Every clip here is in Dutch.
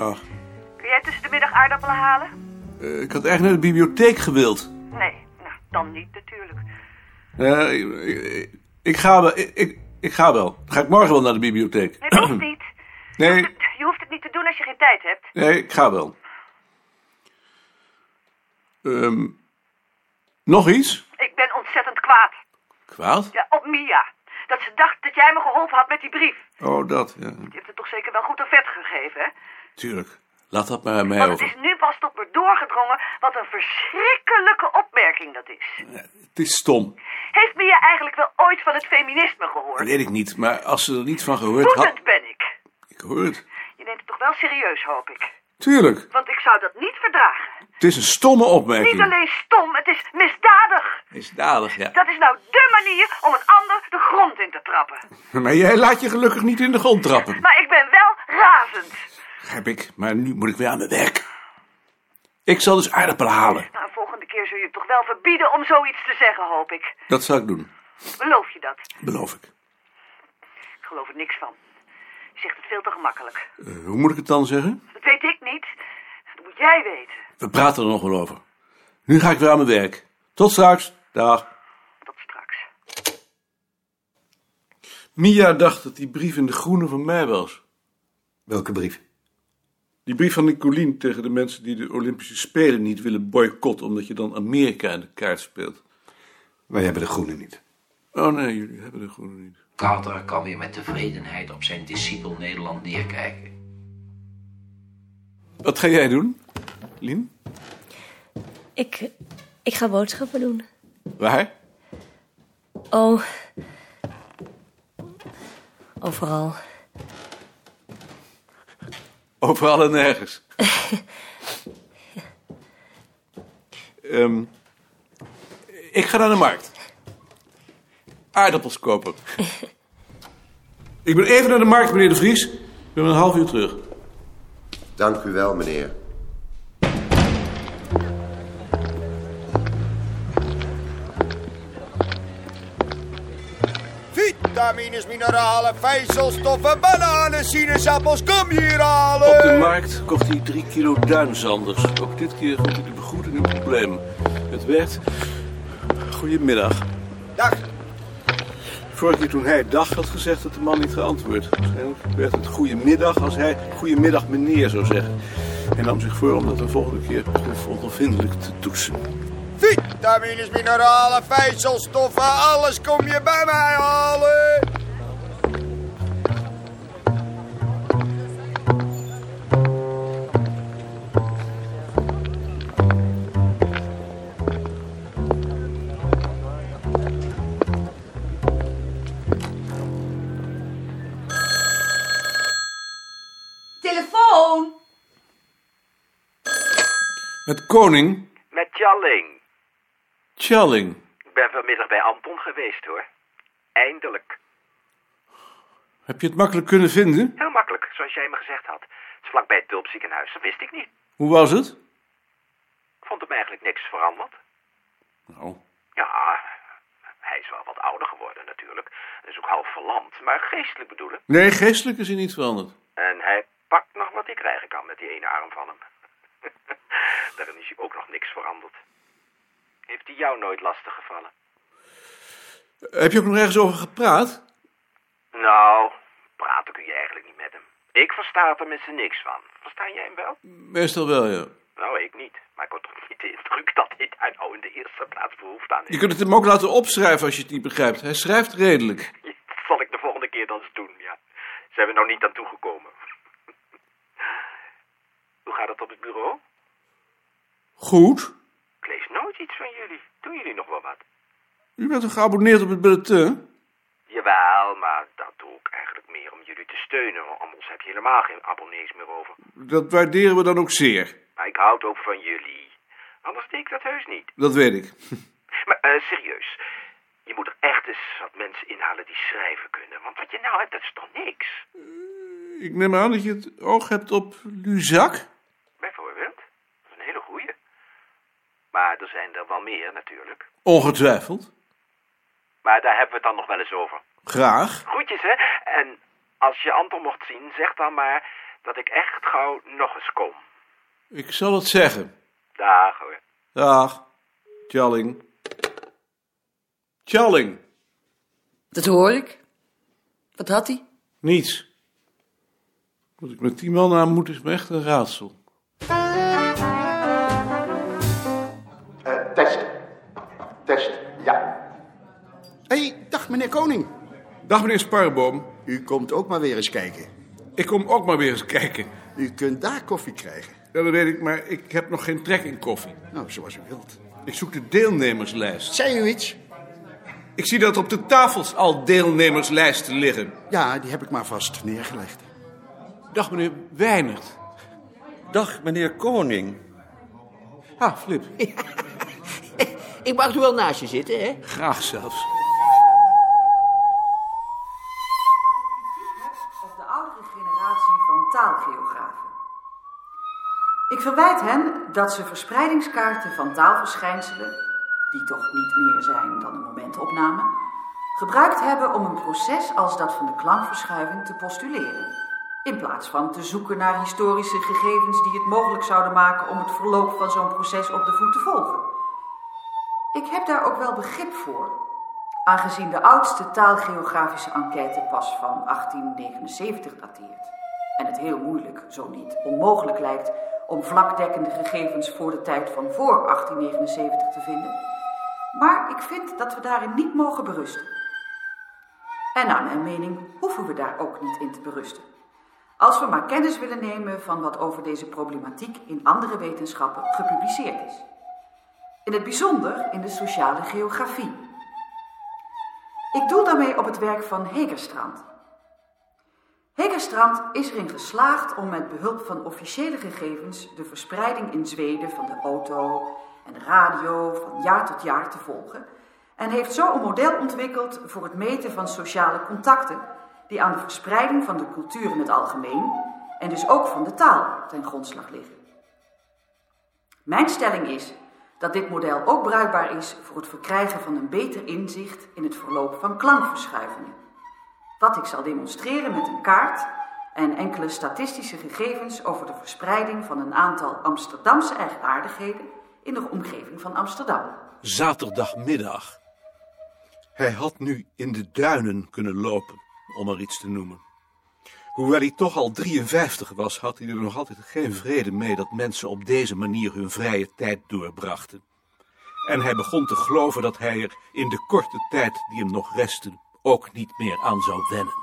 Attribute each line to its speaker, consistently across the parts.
Speaker 1: Oh, Ik had echt naar de bibliotheek gewild.
Speaker 2: Nee, nou, dan niet natuurlijk.
Speaker 1: Eh, ik, ik- ik ga wel. Ik, ik, ik ga wel. Dan ga ik morgen wel naar de bibliotheek.
Speaker 2: Nee, dat hoeft niet.
Speaker 1: Nee,
Speaker 2: Je hoeft het niet te doen als je geen tijd hebt.
Speaker 1: nee ik ga wel. Ehm, nog iets?
Speaker 2: Ik ben ontzettend kwaad.
Speaker 1: Kwaad?
Speaker 2: Ja, op Mia. Dat ze dacht dat jij me geholpen had met die brief.
Speaker 1: Oh, dat. Ja,
Speaker 2: Je hebt het toch zeker wel goed aan vet gegeven, hè?
Speaker 1: tuurlijk. Laat dat maar aan mij
Speaker 2: Want het
Speaker 1: over.
Speaker 2: is nu pas tot me doorgedrongen wat een verschrikkelijke opmerking dat is.
Speaker 1: Het is stom.
Speaker 2: Heeft Mia eigenlijk wel ooit van het feminisme
Speaker 1: Dat
Speaker 2: gehoord?
Speaker 1: weet ik niet, maar als ze er niet van gehoord had...
Speaker 2: Woedend ben ik.
Speaker 1: Ik hoor het.
Speaker 2: Je neemt het toch wel serieus, hoop ik.
Speaker 1: Tuurlijk.
Speaker 2: Want ik zou dat niet verdragen.
Speaker 1: Het is een stomme
Speaker 2: Niet
Speaker 1: opmerking.
Speaker 2: alleen stom, het is misdadig.
Speaker 1: Misdadig, ja.
Speaker 2: Dat is nou dé manier om een ander de grond in te trappen.
Speaker 1: Maar jij laat je gelukkig niet in de grond trappen.
Speaker 2: Maar ik ben wel razend.
Speaker 1: Heb ik, maar nu moet ik weer aan mijn werk. Ik zal dus aardappelen halen.
Speaker 2: Nou, volgende keer zul je het toch wel verbieden om zoiets te zeggen, hoop ik.
Speaker 1: Dat zal ik doen,
Speaker 2: Beloof je dat?
Speaker 1: beloof ik.
Speaker 2: Ik geloof er niks van. Je zegt het veel te gemakkelijk.
Speaker 1: Eh, hoe moet ik het dan zeggen?
Speaker 2: Dat weet ik niet. Dat moet jij weten.
Speaker 1: We praten er nog wel over. Nu ga ik weer aan mijn werk. Tot straks. Dag.
Speaker 2: Tot straks.
Speaker 1: Mia dacht dat die brief in de groene van mij was.
Speaker 3: Welke brief?
Speaker 1: Die brief van Nicolien tegen de mensen die de Olympische Spelen niet willen boycotten... omdat je dan Amerika in de kaart speelt.
Speaker 3: Wij hebben de groene niet.
Speaker 1: Oh nee, jullie hebben de groene niet.
Speaker 4: Carter kan weer met tevredenheid op zijn discipel Nederland neerkijken.
Speaker 1: Wat ga jij doen, Lien?
Speaker 5: Ik, ik ga boodschappen doen.
Speaker 1: Waar?
Speaker 5: Oh. Overal.
Speaker 1: Overal en nergens. Ehm, ik ga naar de markt. Aardappels kopen. ik ben even naar de markt, meneer De Vries. Ik ben een half uur terug.
Speaker 6: Dank u wel, meneer.
Speaker 7: Vitamines, mineralen, vijzelstoffen, bananen, sinaasappels, kom hier halen!
Speaker 1: Op de markt kocht hij drie kilo duinzanders. Ook dit keer vond hij de begroeting een probleem. Het werd... Goedemiddag.
Speaker 7: Dag,
Speaker 1: Vorige keer toen hij dag had gezegd, had de man niet geantwoord. Waarschijnlijk werd het goedemiddag als hij goedemiddag meneer zou zeggen. Hij nam zich voor om dat de volgende keer onvervindelijk te toetsen.
Speaker 7: vitamines, mineralen, vijzelstoffen, alles kom je bij mij halen!
Speaker 8: Telefoon!
Speaker 1: Met koning
Speaker 9: Met Tjalling.
Speaker 1: Challing.
Speaker 9: Ik ben vanmiddag bij Anton geweest hoor. Eindelijk.
Speaker 1: Heb je het makkelijk kunnen vinden?
Speaker 9: Heel makkelijk, zoals jij me gezegd had. Het is vlakbij het Tulpziekenhuis, dat wist ik niet.
Speaker 1: Hoe was het?
Speaker 9: Ik vond hem eigenlijk niks veranderd.
Speaker 1: Nou,
Speaker 9: Ja, hij is wel wat ouder geworden natuurlijk. Hij is ook half verlamd, maar geestelijk bedoel ik.
Speaker 1: nee, geestelijk is hij niet veranderd.
Speaker 9: En hij pakt nog wat hij krijgen kan met die ene arm van hem. Daarin is hij ook nog niks veranderd. Heeft hij jou nooit lastig gevallen?
Speaker 1: Heb je ook nog ergens over gepraat?
Speaker 9: Nou, praten kun je eigenlijk niet met hem. Ik versta er tenminste niks van. Versta jij hem wel?
Speaker 1: Meestal wel, ja.
Speaker 9: Nou, ik niet. Maar ik word toch niet de indruk dat dit daar nou in de eerste plaats behoefte aan
Speaker 1: Je
Speaker 9: heeft.
Speaker 1: kunt het hem ook laten opschrijven als je het niet begrijpt. Hij schrijft redelijk.
Speaker 9: Dat zal ik de volgende keer dan eens doen, ja. Zijn we nou niet aan toegekomen. Hoe gaat het op het bureau?
Speaker 1: Goed.
Speaker 9: Ik lees nooit iets van jullie. Doen jullie nog wel wat?
Speaker 1: U bent toch geabonneerd op het bulletin?
Speaker 9: Jawel, maar dat doe ik eigenlijk meer om jullie te steunen. Anders heb je helemaal geen abonnees meer over.
Speaker 1: Dat waarderen we dan ook zeer.
Speaker 9: Maar ik houd ook van jullie. Anders deed ik dat heus niet.
Speaker 1: Dat weet ik.
Speaker 9: Maar eh, serieus, je moet er echt eens wat mensen inhalen die schrijven kunnen. Want wat je nou hebt, dat is toch niks?
Speaker 1: Ik neem aan dat je het oog hebt op Luzak.
Speaker 9: Bijvoorbeeld. Dat is een hele goeie. Maar er zijn er wel meer natuurlijk.
Speaker 1: Ongetwijfeld.
Speaker 9: Maar daar hebben we het dan nog wel eens over.
Speaker 1: Graag.
Speaker 9: Groetjes, hè? En als je Anton mocht zien, zeg dan maar dat ik echt gauw nog eens kom.
Speaker 1: Ik zal het zeggen.
Speaker 9: Dag hoor.
Speaker 1: Dag, Tjalling. Tjalling,
Speaker 8: Dat hoor ik. Wat had hij?
Speaker 1: niets. Wat ik met die man aan moet is me echt een raadsel.
Speaker 10: Eh, test. Test, ja.
Speaker 11: Hé, hey, dag meneer Koning.
Speaker 1: Dag meneer Sparboom,
Speaker 11: U komt ook maar weer eens kijken.
Speaker 1: ik kom ook maar weer eens kijken.
Speaker 11: U kunt daar koffie krijgen.
Speaker 1: Ja, dat weet ik, maar ik heb nog geen trek in koffie.
Speaker 11: Nou, zoals u wilt.
Speaker 1: Ik zoek de deelnemerslijst.
Speaker 11: Zei u iets?
Speaker 1: Ik zie dat op de tafels al deelnemerslijsten liggen.
Speaker 11: Ja, die heb ik maar vast neergelegd.
Speaker 1: Dag meneer Weinert.
Speaker 12: Dag, meneer Koning.
Speaker 1: Ah, Flip.
Speaker 12: Ik mag er wel naast je zitten, hè?
Speaker 1: Graag zelfs.
Speaker 8: Of de oudere generatie van taalgeografen. Ik verwijt hen dat ze verspreidingskaarten van taalverschijnselen, die toch niet meer zijn dan een momentopname, gebruikt hebben om een proces als dat van de klankverschuiving te postuleren. In plaats van te zoeken naar historische gegevens die het mogelijk zouden maken om het verloop van zo'n proces op de voet te volgen. Ik heb daar ook wel begrip voor, aangezien de oudste taalgeografische enquête pas van 1879 dateert. En het heel moeilijk, zo niet onmogelijk lijkt, om vlakdekkende gegevens voor de tijd van voor 1879 te vinden. Maar ik vind dat we daarin niet mogen berusten. En naar mijn mening hoeven we daar ook niet in te berusten. Als we maar kennis willen nemen van wat over deze problematiek in andere wetenschappen gepubliceerd is. In het bijzonder in de sociale geografie. Ik doel daarmee op het werk van Hegerstrand. Hegerstrand is erin geslaagd om met behulp van officiële gegevens de verspreiding in Zweden van de auto en de radio van jaar tot jaar te volgen en heeft zo een model ontwikkeld voor het meten van sociale contacten die aan de verspreiding van de cultuur in het algemeen en dus ook van de taal ten grondslag liggen. Mijn stelling is dat dit model ook bruikbaar is voor het verkrijgen van een beter inzicht in het verloop van klankverschuivingen. Wat ik zal demonstreren met een kaart en enkele statistische gegevens over de verspreiding van een aantal Amsterdamse eigenaardigheden in de omgeving van Amsterdam.
Speaker 1: Zaterdagmiddag. Hij had nu in de duinen kunnen lopen, om er iets te noemen. Hoewel hij toch al 53 was, had hij er nog altijd geen vrede mee dat mensen op deze manier hun vrije tijd doorbrachten. En hij begon te geloven dat hij er in de korte tijd die hem nog restte ook niet meer aan zou wennen.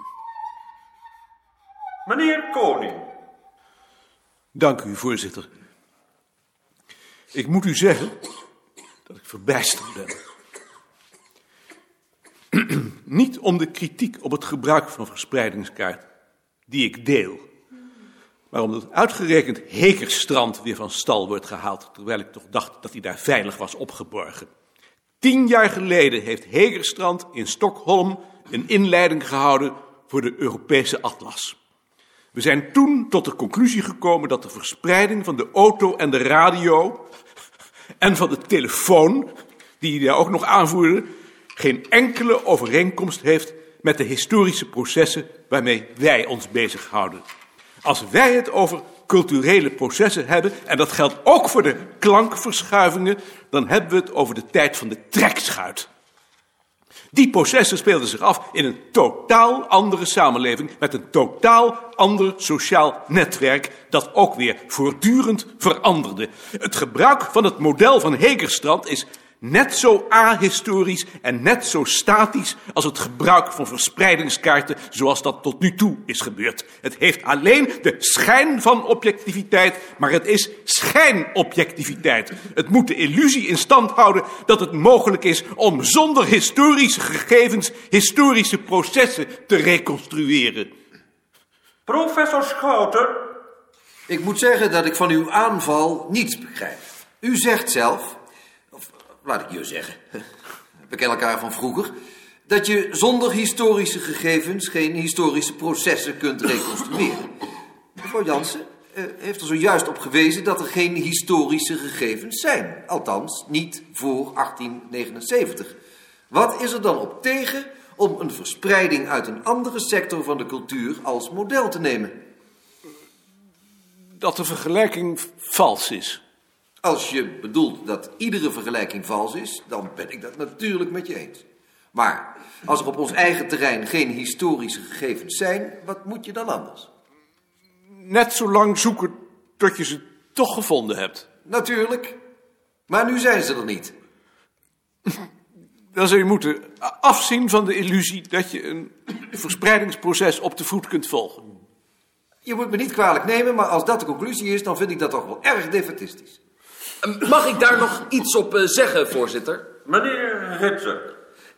Speaker 12: Meneer Koning.
Speaker 1: Dank u, voorzitter. Ik moet u zeggen dat ik verbijsterd ben. Niet om de kritiek op het gebruik van verspreidingskaart, die ik deel, maar omdat uitgerekend Hekerstrand weer van stal wordt gehaald, terwijl ik toch dacht dat hij daar veilig was opgeborgen. Tien jaar geleden heeft Hekerstrand in Stockholm een inleiding gehouden voor de Europese atlas. We zijn toen tot de conclusie gekomen dat de verspreiding van de auto en de radio en van de telefoon, die hij daar ook nog aanvoerde, geen enkele overeenkomst heeft met de historische processen waarmee wij ons bezighouden. Als wij het over culturele processen hebben, en dat geldt ook voor de klankverschuivingen, dan hebben we het over de tijd van de trekschuit. Die processen speelden zich af in een totaal andere samenleving met een totaal ander sociaal netwerk dat ook weer voortdurend veranderde. Het gebruik van het model van Hegerstrand is net zo ahistorisch en net zo statisch als het gebruik van verspreidingskaarten zoals dat tot nu toe is gebeurd. Het heeft alleen de schijn van objectiviteit, maar het is schijnobjectiviteit. Het moet de illusie in stand houden dat het mogelijk is om zonder historische gegevens historische processen te reconstrueren.
Speaker 12: Professor Schouten.
Speaker 3: Ik moet zeggen dat ik van uw aanval niets begrijp. U zegt zelf, of laat ik je zeggen, we kennen elkaar van vroeger, dat je zonder historische gegevens geen historische processen kunt reconstrueren. Mevrouw Jansen eh, heeft er zojuist op gewezen dat er geen historische gegevens zijn. Althans, niet voor 1879. Wat is er dan op tegen om een verspreiding uit een andere sector van de cultuur als model te nemen?
Speaker 1: Dat de vergelijking vals is.
Speaker 13: Als je bedoelt dat iedere vergelijking vals is, dan ben ik dat natuurlijk met je eens. Maar als er op ons eigen terrein geen historische gegevens zijn, wat moet je dan anders?
Speaker 1: Net zo lang zoeken tot je ze toch gevonden hebt.
Speaker 13: Natuurlijk. Maar nu zijn ze er niet.
Speaker 1: Dan zul je moeten afzien van de illusie dat je een verspreidingsproces op de voet kunt volgen.
Speaker 13: Je moet me niet kwalijk nemen, maar als dat de conclusie is, dan vind ik dat toch wel erg defetistisch.
Speaker 8: Ehm, Mag ik daar nog iets op eh, zeggen, voorzitter?
Speaker 5: Meneer Ritser.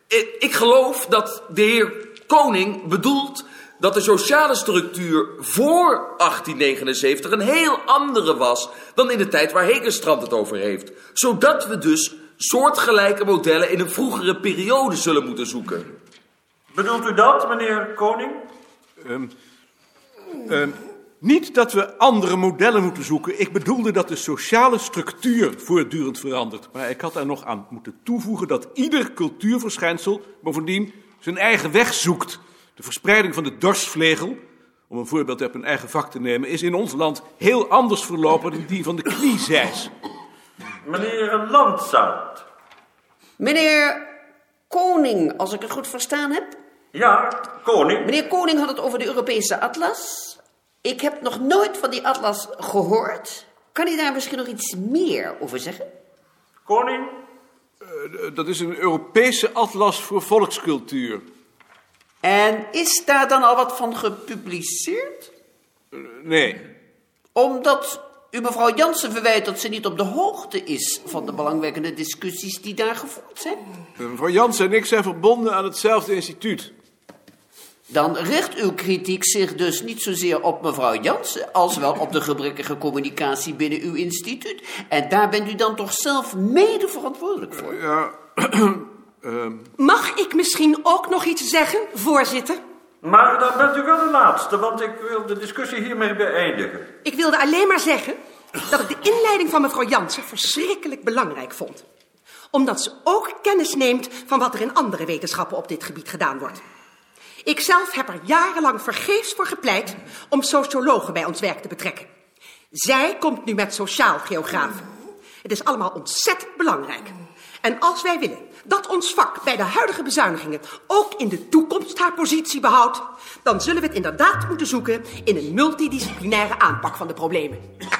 Speaker 8: Eh, Ik geloof dat de heer Koning bedoelt dat de sociale structuur voor 1879 een heel andere was dan in de tijd waar Hekenstrand het over heeft. Zodat we dus soortgelijke modellen in een vroegere periode zullen moeten zoeken.
Speaker 5: Bedoelt u dat, meneer Koning?
Speaker 1: Ehm, ehm, niet dat we andere modellen moeten zoeken. Ik bedoelde dat de sociale structuur voortdurend verandert. Maar ik had daar nog aan moeten toevoegen dat ieder cultuurverschijnsel bovendien zijn eigen weg zoekt. De verspreiding van de dorsvlegel, om een voorbeeld uit mijn eigen vak te nemen, is in ons land heel anders verlopen dan die van de kniezeis.
Speaker 5: Meneer Landzaat.
Speaker 9: Meneer Koning, als ik het goed verstaan heb.
Speaker 5: Ja, Koning.
Speaker 9: Meneer Koning had het over de Europese atlas. Ik heb nog nooit van die atlas gehoord. Kan u daar misschien nog iets meer over zeggen?
Speaker 5: Koning?
Speaker 1: Eh, dat is een Europese atlas voor volkscultuur.
Speaker 9: En is daar dan al wat van gepubliceerd?
Speaker 1: Eh, Nee,
Speaker 9: Omdat u mevrouw Jansen verwijt dat ze niet op de hoogte is van de belangwekkende discussies die daar gevoerd zijn.
Speaker 1: mevrouw Jansen en ik zijn verbonden aan hetzelfde instituut.
Speaker 9: Dan richt uw kritiek zich dus niet zozeer op mevrouw Jansen... als wel op de gebrekkige communicatie binnen uw instituut. En daar bent u dan toch zelf mede verantwoordelijk voor?
Speaker 1: Ja,
Speaker 14: Mag ik misschien ook nog iets zeggen, voorzitter?
Speaker 5: Maar dan bent u wel de laatste, want ik wil de discussie hiermee beëindigen.
Speaker 14: Ik wilde alleen maar zeggen dat ik de inleiding van mevrouw Jansen verschrikkelijk belangrijk vond. Omdat ze ook kennis neemt van wat er in andere wetenschappen op dit gebied gedaan wordt. Ikzelf heb er jarenlang vergeefs voor gepleit om sociologen bij ons werk te betrekken. Zij komt nu met sociaal geografen. Het is allemaal ontzettend belangrijk. En als wij willen dat ons vak bij de huidige bezuinigingen ook in de toekomst haar positie behoudt, dan zullen we het inderdaad moeten zoeken in een multidisciplinaire aanpak van de problemen.